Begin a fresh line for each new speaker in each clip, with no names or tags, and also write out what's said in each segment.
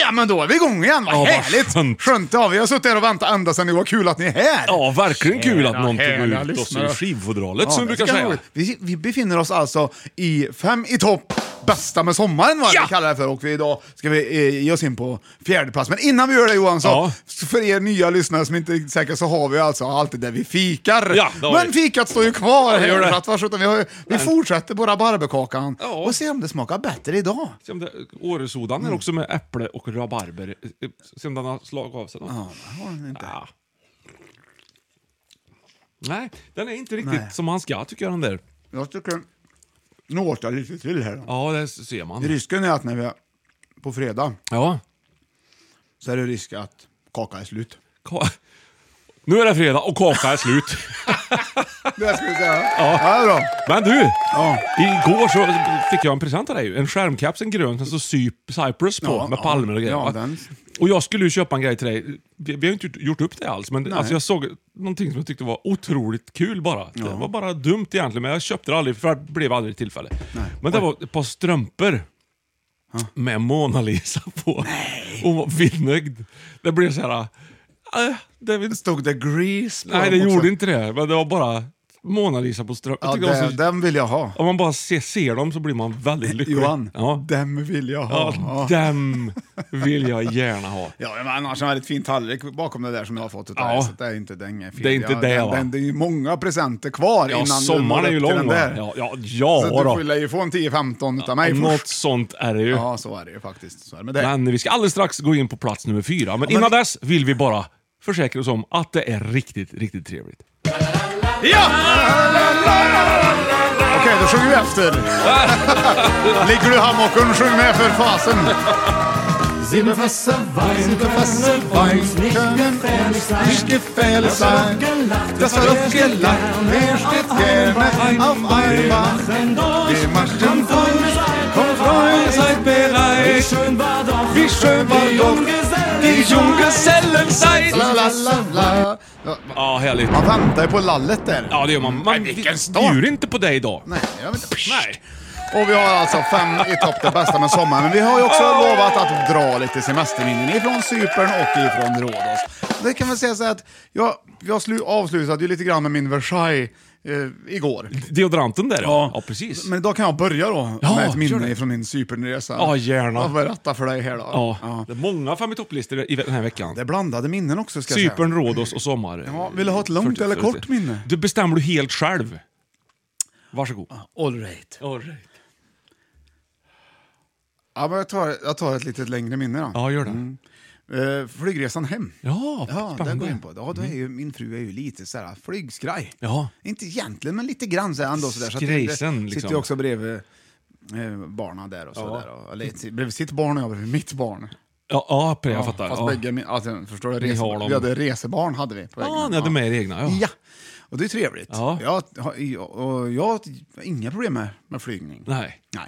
Ja men då är vi igång igen, vad
Ja, vad
härligt!
skönt.
Skönt av, vi har suttit här och väntat ända sedan nu, vad kul att ni är här!
Ja, verkligen kul att
Tjena,
någon tog
härliga
ut oss
lyssnare.
ur skivfodralet
Ja,
som vi
det
brukar
ska
säga.
vara. Vi, vi befinner oss alltså i Fem i topp, bästa med sommaren vad
Ja!
vi kallar det för. Och vi, idag ska vi eh, ge oss in på fjärde plats. Men innan vi gör det Johan, så
Ja.
för er nya lyssnare som inte är säkra så har vi alltså alltid där vi fikar.
Ja, det har
Men
vi.
fikat står ju kvar.
Ja, det gör
här,
det.
för att, varsågod, vi, har, ju- vi fortsätter på rabarberkakan
Ja.
och se om det smakar bättre idag.
Se om det- Åresodan
Mm.
är också med äpple och rabarber. Eh, Se om den har slagit av sig något.
Ja, det har den inte.
Ah. Nej, den är inte riktigt som han ska tycker jag den där.
Jag tycker... Nu åt jag lite till här.
Ja, det ser man.
Risken är att när vi är på fredag
Ja.
så är det risk att kakan är slut.
Ka- Nu är det fredag och kaka är slut.
Det ska vi säga. Ja. Ja, bra.
Men du!
Ja.
Igår så fick jag en present av dig. En skärmkaps, en grön, som så Cyprus på
Ja,
med
ja.
palmer och grejer.
Ja,
va?
den-
Och jag skulle ju köpa en grej till dig. Vi, vi har ju inte gjort- gjort upp det alls, men alltså jag såg någonting som jag tyckte var otroligt kul bara. Det var bara dumt egentligen, men jag köpte det aldrig för det blev aldrig tillfälle. Men det var ett par strumpor. Med Mona Lisa på. Hon var vildnöjd. Det blev så här... Äh, det, vill-
Stod det Grease på
nej, det
dem också?
gjorde inte det. Men det var bara Mona Lisa på strumpan.
Ja,
Jag tycker det var
det,
så-
den vill jag ha.
om man bara ser, ser dem så blir man väldigt lycklig.
Johan,
Ja.
den vill jag ha.
Ja, dem vill jag gärna ha.
Ja, men annars har jag ett fint tallrik bakom det där som jag har fått. Ja.
Ja.
Där, så det är inte den är fel.
Det är inte
Ja,
det,
den,
va?
den, Det är ju många presenter kvar
Ja,
innan
sommaren
du
är ju
når upp till
lång
den
va?
där.
Ja, ja, ja
så du
då.
får lär ju få en 10-15 utav mig
Ja, Något
först.
sånt är det ju.
Ja, så är det ju faktiskt. Så är det med det.
Men vi ska alldeles strax gå in på plats nummer fyra. Men, innan dess vill vi bara försäkra oss om att det är riktigt, riktigt trevligt.
Okej, då sjunger vi efter. Ligger du i hammocken, sjung med för fasen. Das Luftgelacht, mehr steht gerne auf einmal. Die Maschen voll, komm Freunde, seid bereit. Wie schön war doch die Junggesellenzeit. La, la, la, la. Ja,
Ja, härligt.
Man väntar ju på lallet där.
Ja, det gör man. Man
Mm. vilken start.
bjuder inte på dig idag.
Nej, jag vet inte.
Nej.
Och vi har alltså fem i topp, det bästa med sommaren. Men vi har ju också lovat att dra lite semesterminnen ifrån Cypern och ifrån Rhodos. Det kan man säga så här att jag, jag slu, avslutade ju lite grann med min Versailles eh, igår.
Deodoranten där ja. Ja, precis.
Men idag kan jag börja då
Ja,
med ett
gör
minne
det.
från min Cypernresa.
Ja, gärna.
Jag berätta för dig här då.
Ja. Det är många fem i topplistor i ve- den här veckan.
Det är blandade minnen också ska jag säga.
Cypern, Rhodos och sommar.
Ja, vill du ha ett långt eller kort minne?
Du bestämmer du helt själv. Varsågod.
All right.
All right.
Ja, men jag tar, jag tar ett lite längre minne då.
Ja, gör det.
Eh, flygresan hem.
Ja,
Ja, den
spännande.
går jag in på. Ja, då är ju, min fru är ju lite så här flygskraj.
Ja.
Inte egentligen, men lite grann så här ändå. Så där, så att det-
Skrejsen,
det Sitter
liksom.
ju också bredvid eh, barnen där och så där. Och, eller, ett- bredvid sitt barn och jag bredvid mitt barn.
Ja, ja, pre, jag fattar.
Fast
Ja.
bägge, min- alltså, förstår du?
Ni har
Rese,
dem.
vi hade resebarn hade vi på
Ja,
vägen.
ni hade med er egna, ja.
Ja. Och det är trevligt.
Ja.
Jag, har- jag, och jag har inga problem med, med flygning.
Nej.
Nej.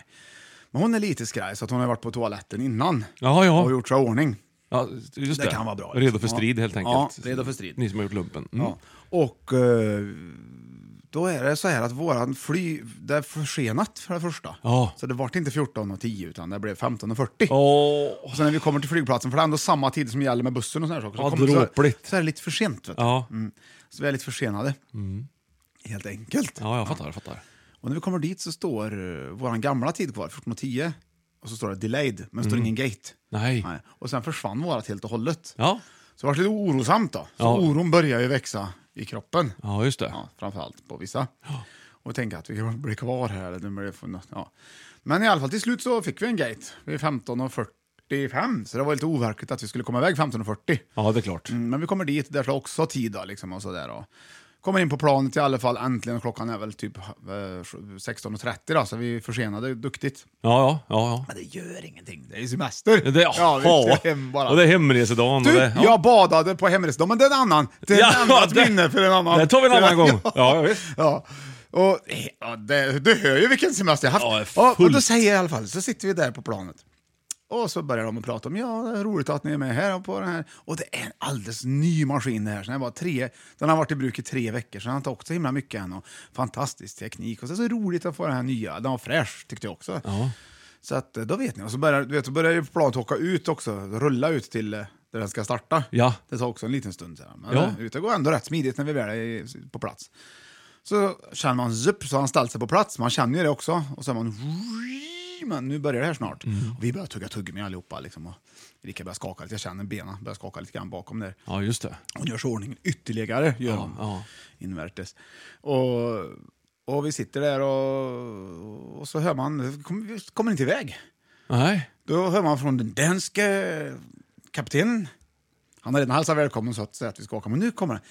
Men hon är lite skraj, så att hon har varit på toaletten innan
Ja, ja.
och gjort sig i ordning.
Ja, just det.
Det kan vara bra,
Redo
liksom.
för strid helt
Ja.
enkelt.
Ja, redo för strid.
Ni som har gjort lumpen. Mm.
Ja. Och eh, då är det så här att våran fly, det är försenat för det första.
Ja.
Så det vart inte 14.10 utan det blev 15.40.
Åh.
Och sen när vi kommer till flygplatsen, för det är ändå samma tid som gäller med bussen och sådana saker. Så,
Ja,
kommer, så,
dråpligt.
så är det lite för sent. Vet du.
Ja. Mm.
Mm. Så vi är lite försenade. Helt enkelt.
ja, jag fattar. Jag fattar.
Och när vi kommer dit så står uh, vår gamla tid kvar, 14.10. Och så står det delayed, men det står ingen gate.
Mm. Nej.
Nej. Och sen försvann vårat helt och hållet.
Ja.
Så det var lite orosamt då. Så
Ja.
oron börjar ju växa i kroppen.
ja, just det.
Ja, framförallt på vissa. Och tänka att vi kan bli kvar här. Eller nu blir det för något, ja. Men i alla fall till slut så fick vi en gate vid 15.45. Så det var lite overkligt att vi skulle komma iväg 15.40.
Ja, det är klart.
Mm, Men vi kommer dit, där tar också tid då, liksom, och sådär. Och kommer in på planet i alla fall äntligen. Klockan är väl typ eh, 16.30 då, så vi är försenade duktigt.
Ja, ja, ja. ja.
Men det gör ingenting, det är ju semester.
Det,
ja, vi ska hem bara.
Och det är hemresedagen. och
Du,
det, ja.
jag badade på hemresan, men det är en annan. Det är
Ja,
ett annat
det-
minne för en annan.
det tar vi en annan gång.
Ja,
Ja, ja, visst.
Ja. Och, ja, det, du hör ju vilken semester jag
Ja,
haft. Ja,
fullt.
och då säger jag i alla fall, så sitter vi där på planet. Och så börjar de att prata om, ja, det är roligt att ni är med här och på den här. Och det är en alldeles ny maskin det här. Så Den, var tre, den har varit i bruk i tre veckor, så den har inte åkt så himla mycket än. Och fantastisk teknik. Och så är det så roligt att få den här nya. Den var fräsch, tyckte jag också. Så att, eh, då vet ni. Och så börjar, du vet, så börjar ju planet åka ut också, rulla ut till eh, där den ska starta.
Ja.
Det tar också en liten stund. Sedan. Men
Ja.
eh, ut- det går ändå rätt smidigt när vi väl är i- på plats. Så känner man zupp, så har han ställt sig på plats. Man känner ju det också. Och så är man... Men nu börjar det här snart.
Mm.
Och vi börjar tugga tuggummi allihopa. Liksom. Och Erika börjar skaka lite. Jag känner benen börjar skaka lite grann bakom där.
ja, just det.
Hon gör så ordningen ytterligare, gör hon.
ja.
Invärtes. Och, och vi sitter där och, och så hör man... Kommer, kommer inte iväg.
Nej.
Då hör man från den danske kaptenen. Han har redan hälsat välkommen så att säga att vi ska åka, men nu kommer han.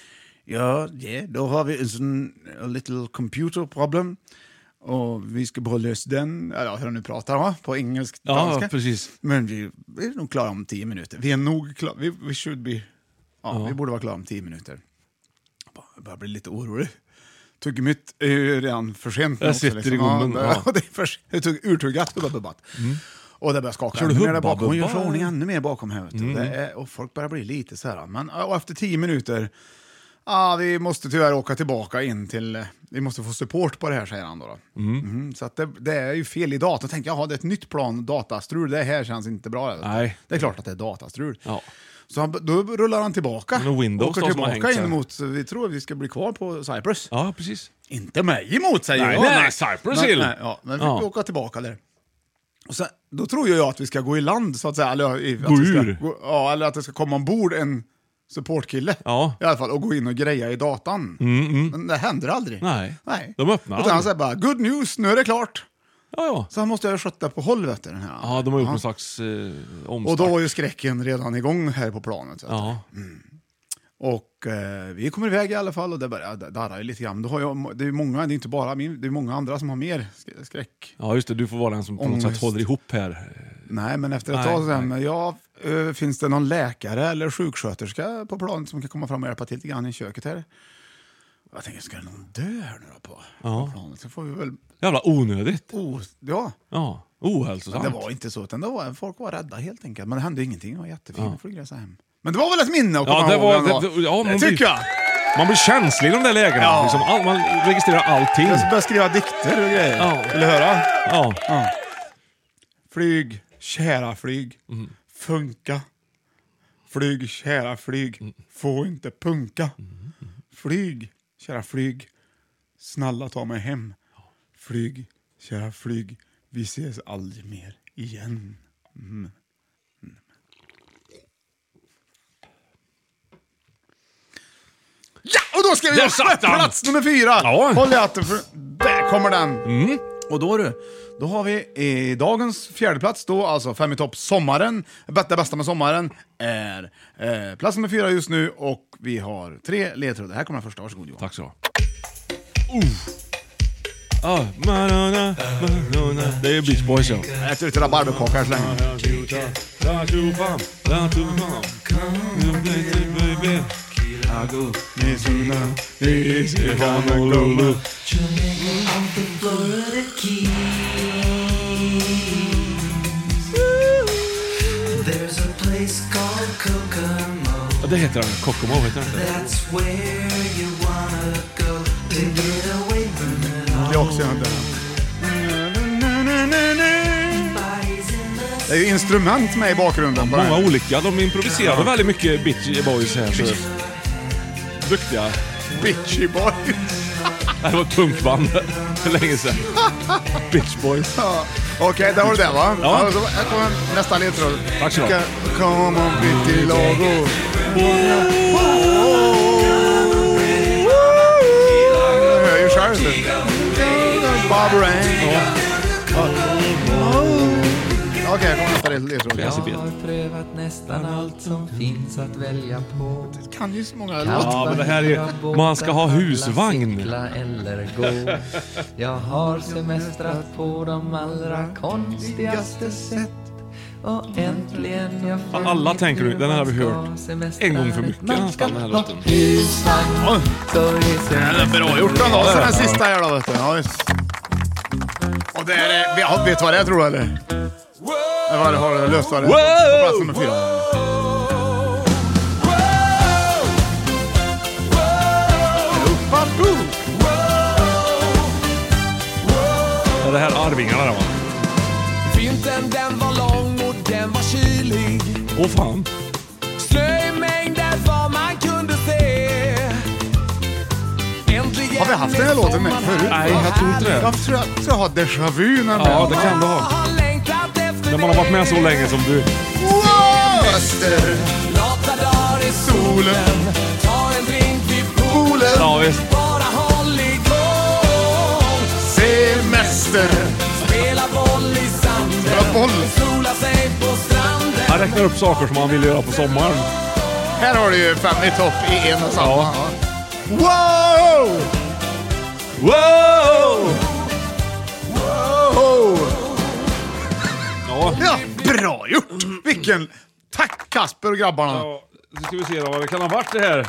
Ja, ja, då har vi en sån a little computer problem. Och vi ska bara lösa den. Eller hur han nu pratar, va? På engelsk,
Ja,
danska.
precis.
Men vi, vi är nog klara om tio minuter. Vi är nog klara. Vi, vi should be... Ja, vi borde vara klara om tio minuter. Jag bara- Jag börjar bli lite orolig. Tuggummit är ju eh, redan för sent. nu
Jag
också, liksom.
sitter i gommen,
Ja,
ja. Mm.
det är för sent. Det tog urtuggat, hubba bubbat. Och det börjar skaka
Kör du
ännu mer där
hubba Mm.
bakom. Hon gör
bubba,
sig i ordning
eller?
ännu mer bakom här. Vet du. Det är, och folk börjar bli lite så här. Men och efter tio minuter, ah, vi måste tyvärr åka tillbaka in till, eh, vi måste få support på det här säger han då. då.
Mm.
Mhm, så att det, det är ju fel i datorn. Tänk, jaha det är ett nytt plan, datastrul, det här känns inte bra. vet du.
Nej.
Det är klart att det är datastrul.
Ja.
Så han, då rullar han tillbaka.
Men Windows
åker
då, som har
tillbaka
hängt
in
sig.
mot, vi tror vi ska bli kvar på Cyprus.
Ja, precis.
Inte mig emot säger
Nej,
jag.
nej, Cyprus
men,
Hill.
nej, ja, men vi
Ja.
får åka tillbaka där. Och sen, då tror ju jag att vi ska gå i land så att säga. Eller, i,
Gå
att vi ska,
ur.
gå, ja, eller att det ska komma ombord en supportkille.
Ja. Mm,
I alla fall och gå in och greja i datan. Men det händer aldrig.
Nej.
nej.
De öppnar
Utan han
aldrig.
säger bara good news, nu är det klart.
Ja, ja.
Så han måste ha skött det på håll vet du, den här.
Ja, de har gjort någon slags eh,
Och
omstart.
då var ju skräcken redan igång här på planet. vet du.
Ja,
Och eh, vi kommer iväg i alla fall och det börjar det darrar ju lite grann. Då har jag, det är ju många, det är inte bara min, det är många andra som har mer sk- skräck.
ja, just det. Du får vara den som på något
Ångest.
sätt håller ihop här.
Nej, men efter ett
Nej,
tag sen, ja, eh, finns det någon läkare eller sjuksköterska på planet som kan komma fram och hjälpa till lite grann i köket här? Jag tänker, ska någon dö här nu då på, på planet? Så får vi väl,
Jävla onödigt.
oh, ja.
Ja,
Men
ohälsosamt.
det var inte så, utan det var, folk var rädda helt enkelt. Men det hände ingenting, det var jättefin flygresa hem. Men det var väl ett minne att komma
Ja, det
ihåg
var...
ändå.
Det, det, ja,
det
man
tycker
blir,
jag.
Man blir känslig i de där lägena.
Ja.
Liksom, all, man registrerar allting.
Jag ska börja skriva dikter och grejer.
Ja.
Vill du höra?
Ja.
Flyg, kära flyg,
Mm.
funka. Flyg, kära flyg,
Mm.
få inte punka. Flyg, kära flyg, snälla ta mig hem. Flyg, kära flyg, vi ses aldrig mer igen. Mm. Ja, och då ska vi
Där
göra
satt han!
plats nummer fyra.
Ja. Mm.
Håll i hatten, för där kommer den. Och då du, då har vi i dagens fjärde plats då, alltså fem i topp, sommaren. Det bästa med sommaren är eh, plats nummer fyra just nu och vi har tre ledtrådar. Här kommer den första, varsågod Johan.
Tack så. Uh. Ah, Marona, Marona. Det är Beach Boys ja.
Jag äter lite rabarberkaka här så länge.
Ah,
Chicago. Arizona is Honolulu.
Ja, Det heter den. Kokomo heter den inte?
Det är också jag inte. Det är ju instrument med i bakgrunden. på den.
Många olika. De improviserade väldigt mycket Bitchy Boys här. Så. Duktiga.
Bitchy boys.
Det här var ett punkband för länge sedan. Bitch Boys.
Ja. Okej, där har du det va?
Ja.
Alltså, här kommer nästa ledtråd.
Tack så mycket.
Come on pretty logo. Jag hör ju själv. Bob Rain. Okej, här kommer nästa ledtråd.
PCB.
Jag kan ju så många låtar.
Ja, men det här är... Man ska ha husvagn.
Jag har semestrat på de allra konstigaste sätt och äntligen jag funnit
Alla tänker du, den här har vi
hur man
hört
ska semestra.
en gång för mycket
Man ska
nästan, den här
ha
låten.
husvagn, så reser man
Bra gjort ändå. Så den sista här då vet du. Ja, just. Och det är, ja, vet du vad det är tror du eller? Eller vad det- har du löst vad det är? På plats nummer fyra. Uppaboo!
Ja, Det här är Arvingarna det va?
Vintern den var lång och den var kylig
Åh fan.
Snö i mängder vad man kunde se Äntligen
Har vi haft den här låten med förut?
Nej, jag tror inte det.
Jag tror jag, tror jag har déjà vu när den
Ja, det kan du ha.
har längtat efter
När man har varit med så länge som du.
Wow! Öster,
Lata dagar i solen Ta en drink vid poolen
Polen,
Ja, visst.
Bara håll igång
semester,
Spela boll i
Spela boll.
sanden Sola sig på stranden
Han räknar upp saker som man vill göra på sommaren.
Här har du ju fem i topp i en och samma. Ja. Wow!
Wow!
Oh!
Ja.
Ja, bra gjort! Vilken... Tack Kasper och grabbarna. Ja,
Ja, Nu ska vi se då vad det kan ha varit det här.
det,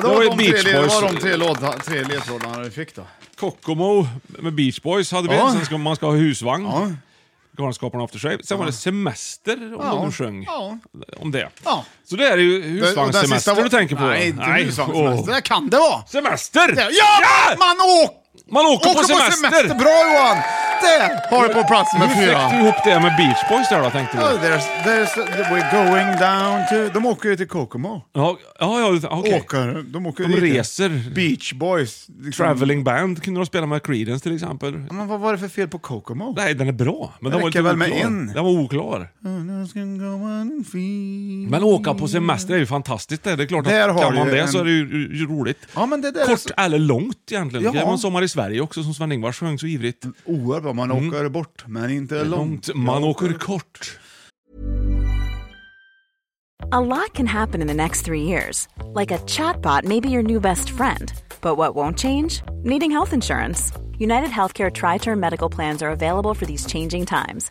var
var
ju
de tre,
Beach
det var
Boys.
de tre, låda, tre ledtrådarna vi fick då.
Kokomo med Beach Boys hade vi.
Ja.
Sen ska man ska ha husvagn.
Ja.
Galenskaparna After Shave. Sen var det semester om de sjöng
Ja.
om det.
Ja.
Så det är ju
Det- och den sista
husvagnssemester
var-
du tänker på.
Nej, inte
Nej,
husvagnssemester.
åh.
Det där kan det vara.
Semester!
Ja! ja! Man åker,
Man åker, på semester!
Bra Johan! Det har du på plats
Hur
med
fick du
fyra.
ihop det med Beach Boys där då, tänkte
Ja,
du?
There's, there's, we're going down to... De åker ju till Kokomo.
Ja, ja, ja okej.
Åker, de åker
De
dit.
reser.
Beach Boys. liksom.
Traveling Band kunde de spela med Creedence till exempel.
Men vad var det för fel på Kokomo?
Nej, den är bra. Men
Det
den var lite
räcker väl med
oklar.
en?
Den var oklar.
Mm,
Men åka på semester är ju fantastiskt det. Det är klart att
Där har
kan man
du
det
en-
så är det ju, ju, ju roligt.
Ja, men det där är
Kort
så-
eller långt egentligen.
Ja.
Det var en sommar i Sverige också som Sven-Ingvars sjöng så ivrigt.
Oerhört bra. Man åker bort, men inte långt.
Mm. Långt. Man åker kort.
A lot can happen in the next three years. Like a chatbot may be your new best friend. But what won't change? Needing health insurance. United Healthcare Tri Term Medical Plans are available for these changing times.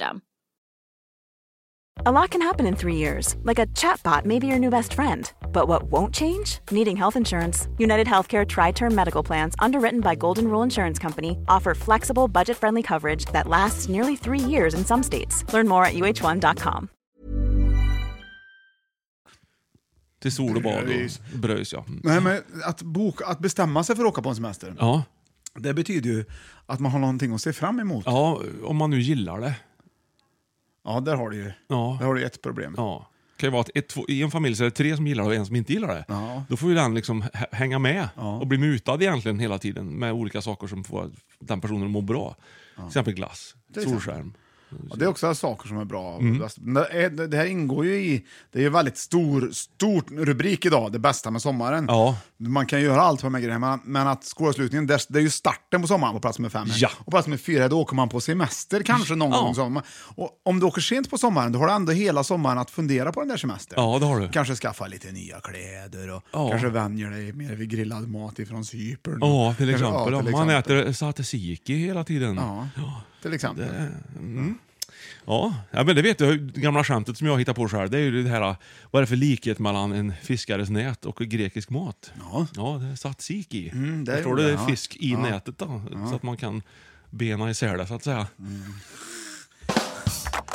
A lot can happen in three years, like a chatbot may be your new best friend. But what won't change? Needing health insurance. United Healthcare Tri Term Medical Plans, underwritten by Golden Rule Insurance Company, offer flexible, budget friendly coverage that lasts nearly three years in some states. Learn more at uh1.com.
Till sol och bad och brös, ja.
Nej, men att, boka, att bestämma sig för att åka på en semester,
Ja.
det betyder ju att man har någonting att se fram emot. Ja,
ja, om man nu gillar det.
där har du ju
Ja.
där har du ett problem.
Ja. Det kan ju vara att ett, två, i en familj så är det tre som gillar det och en som inte gillar det.
Ja.
Då får ju den liksom h- hänga med och bli mutad egentligen hela tiden med olika saker som får den personen att må bra. Till exempel glass, solskärm.
Ja, det är också saker som är bra.
Mm.
Men Det, är, det här ingår ju i, det är ju väldigt stor, stort rubrik idag, det bästa med sommaren.
Ja.
Man kan ju göra allt på de här grejerna, men- men att skolavslutningen, där- det är ju starten på sommaren på plats med fem.
Ja.
Och plats med fyra, då åker man på semester kanske någon
Ja.
gång. Som, och om du åker sent på sommaren, då har du ändå hela sommaren att fundera på den där semestern.
Ja, det har du.
Kanske skaffa lite nya kläder och
Ja.
kanske vänjer dig mer vid grillad mat ifrån Cypern.
Ja, till
Kanske-
exempel.
ja, till
om man
exempel.
äter satsiki hela tiden.
Ja, till exempel.
Ja, ja, men det vet jag. Det gamla skämtet som jag hittar på själv, det är ju det här, vad är det för likhet mellan en fiskares nät och grekisk mat?
Ja.
det är satsiki.
Mm, det
Där står
gjorde
det
jag, ja.
fisk i
Ja. Mm.
nätet då, så att man kan bena isär det så att säga.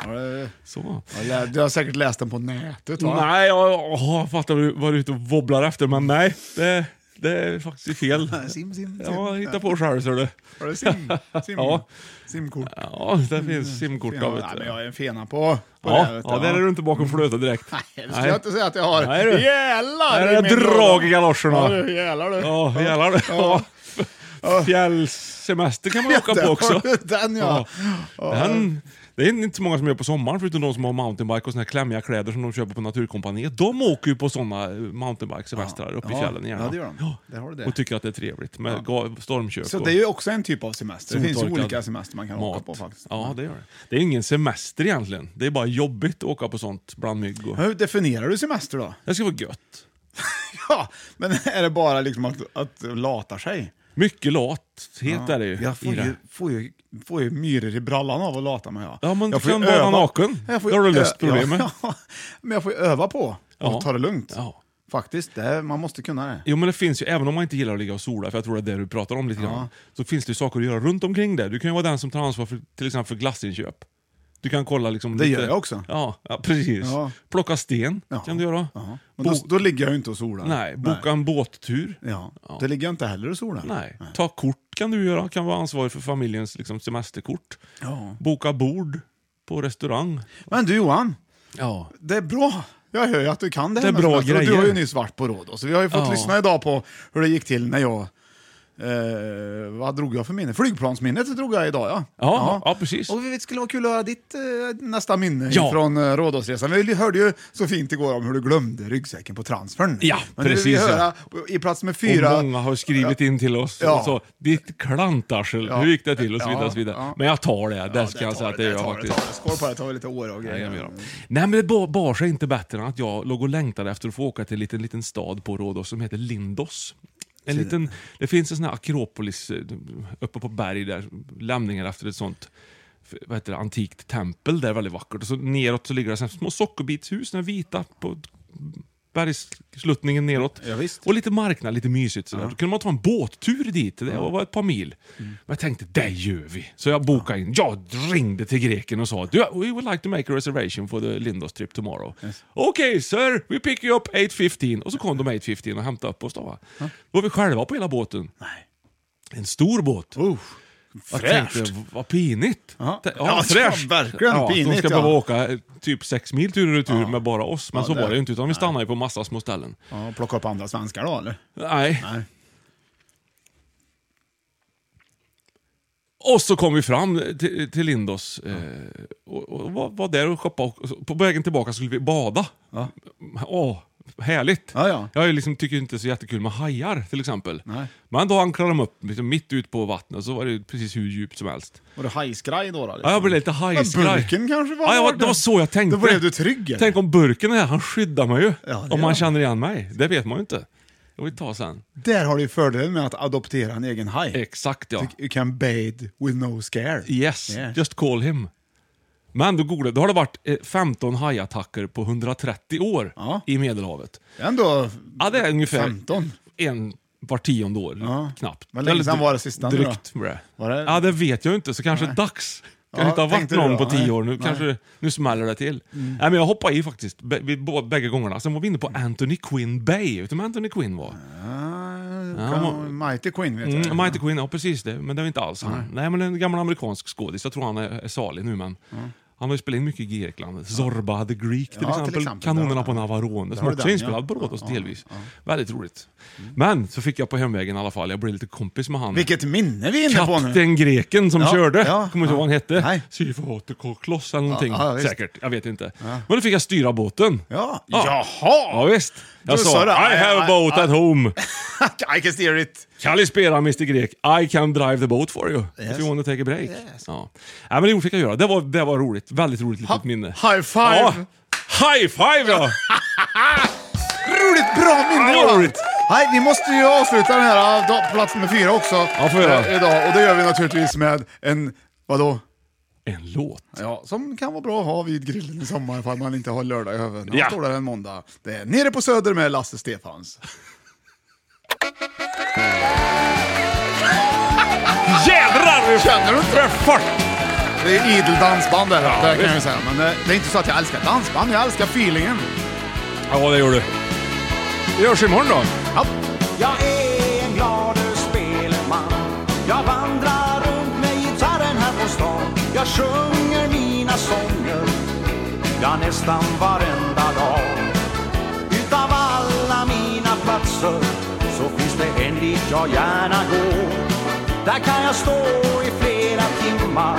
Ja, det-
Så.
Jag lä- Du har säkert läst den på nätet va?
Nej, jag, jag fattar vad du- vad du är ute och wobblar efter, men nej. Det, det är faktiskt fel.
Sim, sim, sim.
Ja, hitta på själv ser du.
Har du sim, sim,
Ja.
simkort?
Ja, det finns simkort
Fena.
av
Nej,
vet
Mm, men
du.
jag är en fena på, på det. här,
Ja,
vet
ja, där är du inte bakom flötet direkt.
Nej, det skulle jag inte säga att jag har.
Nej, du.
Jävlar!
Där
i
är
min
drag i
låda.
galoscherna.
Ja, du, jävlar du.
Ja, jävlar du. Ja. Fjällsemester kan man åka
Där
på
har
också.
du Den ja.
Den, det är inte så många som gör på sommaren, förutom de som har mountainbike och såna här klämmiga kläder som de köper på Naturkompaniet. De åker ju på såna mountainbike-semestrar uppe i
Ja,
fjällen gärna.
ja, det gör de. Där har du det.
Och tycker att det är trevligt med ga- stormkök
Så
och
det är ju också en typ av semester. Det finns ju
soltorkad
olika semester man kan åka på faktiskt. Mm.
Ja, det gör det. Det är ingen semester egentligen. Det är bara jobbigt att åka på sånt bland mygg och...
Hur definierar du semester då?
Det ska vara gött.
Ja, men är det bara liksom att, att lata sig?
Mycket lathet är det ju.
Jag får
i det.
ju, får ju, får ju myror i brallan av att lata mig. Ja,
Ja, men
jag
du kan vara naken.
Jag får
Då har
ju
du löst
ö-
problemet.
Ja, men jag får ju öva på att
Ja.
ta det lugnt.
Ja.
Faktiskt, det, är- man måste kunna det.
Jo men det finns ju, även om man inte gillar att ligga och sola, för jag tror det är det du pratar om lite grann. Så finns det ju saker att göra runt omkring det. Du kan ju vara den som tar ansvar för till exempel för glassinköp. Du kan kolla liksom...
Det
lite,
gör jag också.
Ja, ja precis.
Ja.
Plocka sten kan du göra.
Ja. Men
Bo-
då, då ligger jag ju inte och solar.
nej, boka en båttur.
Ja. Det ligger jag inte heller och solar.
Nej. Ta kort kan du göra, kan vara ansvarig för familjens liksom, semesterkort.
Ja.
Boka bord på restaurang.
Men du Johan,
Ja.
det är bra. Jag hör ju att du kan det
Det är
med
bra
semester, och Du
grejer.
har ju nyss varit på råd. Så vi har ju fått
Ja.
lyssna idag på hur det gick till när jag... Eh, vad drog jag för minne? Flygplansminnet drog jag idag ja.
Ja, ja, precis.
Och det skulle vara kul att höra ditt eh, nästa minne
Ja.
från eh, Rhodosresan. Vi hörde ju så fint igår om hur du glömde ryggsäcken på transfern.
Ja,
Men nu vill vi
precis, ja.
höra i plats med fyra...
Och många har skrivit in till oss
Ja.
och så, ditt klantarsel,
Ja.
hur gick det till? Och så
Ja,
vidare. och så vidare.
ja.
Men jag tar det, det
Ja,
ska
där
jag
tar
säga
vi,
att det
där
gör jag
tar vi,
faktiskt.
tar vi. Skål på det, tar vi lite år och
Nej,
grejer.
jag menar. Nej men det bar, bar sig inte bättre än att jag låg och längtade efter att få åka till en liten, liten stad på Rhodos som heter Lindos. En liten, det finns en sån här akropolis eh, uppe på berg där, lämningar efter ett sånt f- vad heter det, antikt tempel där, väldigt vackert. Och så neråt så ligger det så här små sockerbitshus, den vita, på bergssluttningen neråt.
Ja, visst.
Och lite marknad, lite mysigt. Sådär. Då kunde man ta en båttur dit, det var ett par mil.
Mm.
Men jag tänkte, det gör vi. Så jag bokade in. Jag ringde till greken och sa, "Do- we would like to make a reservation for the Lindos trip tomorrow. Okej okay, sir, we pick you up 8.15. Och så kom de 8.15 och hämtade upp oss. Då, va? då var vi själva på hela båten. En stor båt.
Usch,
Jag
fräscht.
tänkte, vad pinigt.
Ja.
Tä-
Ja, verkligen
ja, att De
pinigt,
ska
ja.
behöva åka eh, typ sex mil tur och retur med bara oss. Men så
det-
var det ju inte, utan vi stannade ju på massa små ställen.
Ja, plocka upp andra svenskar då eller?
Nej.
Nej.
Och så kom vi fram till, till Lindos eh, och, och var, var där och shoppade. Och, så på vägen tillbaka skulle vi bada.
Ja.
Åh, härligt.
Ja, ja.
Jag är liksom, tycker inte så jättekul med hajar till exempel.
Nej.
Men då anklade de upp liksom, mitt ut på vattnet så var det precis hur djupt som helst.
Var du hajskraj då? då liksom?
Ja, jag blev lite hajskraj.
Men burken kanske var
ja, jag var,
där.
Det var så jag tänkte.
Då blev du trygg, eller?
Tänk om burken är här, han skyddar mig ju.
det gör
om han
han.
känner igen mig. Det vet man ju inte. Det var ett tag sen.
Där har du ju fördelen med att adoptera en egen haj.
Exakt ja.
You can bathe with no scare.
Yes,
Yeah.
just call him. Men du googlar, då har det varit eh, 15 hajattacker på 130 år i Medelhavet.
Ändå eh,
Ja, det är ungefär
15.
en var tionde år,
Ja.
knappt.
Vad länge
Eller
sedan var det sista nu då?
Drygt. Var
Var det-
Ja, det vet jag inte, så kanske dags. Kan
Ja,
inte ha varit
tänkte du
någon
då?
på
Nej.
tio år nu.
Nej. Mm.
Kanske, nu smäller det till. Nej, men jag hoppade i faktiskt, bä- vid bå- bägge gångerna. Sen var vi inne på Anthony Quinn Bay. Vet du vem Anthony Quinn var?
Ah,
han
kan-
var-
Mighty Queen vet jag.
Mm, Mighty Quinn, ja precis det. Men det var inte alls han. Nej, men en gammal amerikansk skådis. Jag tror han är, är salig nu men. Han har ju spelat in mycket i Grekland. Zorba the Greek till,
till
exempel.
exempel.
Kanonerna
Ja.
på Navarone som
var
också
den,
är
ja.
inspelad på Rhodos
Ja, Mm.
delvis. Väldigt roligt. Men så fick jag på hemvägen i alla fall, jag blev lite kompis med han.
Vilket minne vi är inne på nu.
Kapten greken som
Ja,
körde.
ja,
Kommer inte ihåg vad han hette.
Nej.
Syfotokockloss eller någonting.
ja, visst.
Säkert. Jag vet inte. Men då fick jag styra båten.
Ja.
Ja,
Jaha!
visst. Jag
Då
sa
sa du,
I
"I-
have a
I-
boat
I-
at home.
I can steer it.
Kalispera Mr Grek, I can drive the boat for you. If you want to take a break. Ja. Nej, men det fick jag göra. Det var, det var roligt. Väldigt roligt litet minne.
high five.
Ja. High five ja!
Roligt, bra minne
Ja,
Johan.
roligt.
Nej, vi måste ju avsluta den här eh, dag- plats med fyra också.
Ja, får vi göra.
eh, Idag. Och det gör vi naturligtvis med en, vadå?
En låt.
Ja, som kan vara bra att ha vid grillen i sommar ifall man inte har lördag över. När man
Ja.
står där en måndag. Det är Nere på Söder med Lasse Stefans.
Jädrar!
Känner du inte?
För fart!
Det är idel dansband där, det kan jag ju
visst.
säga. Men eh, det är inte så att jag älskar dansband, jag älskar feelingen.
Ja, det gör du. Det görs imorgon då.
Ja.
Jag är en glad spelman Jag vandrar runt med gitarren här på stan Jag sjunger mina sånger Ja, nästan varenda dag Utav alla mina platser Så finns det en dit jag gärna går Där kan jag stå i flera timmar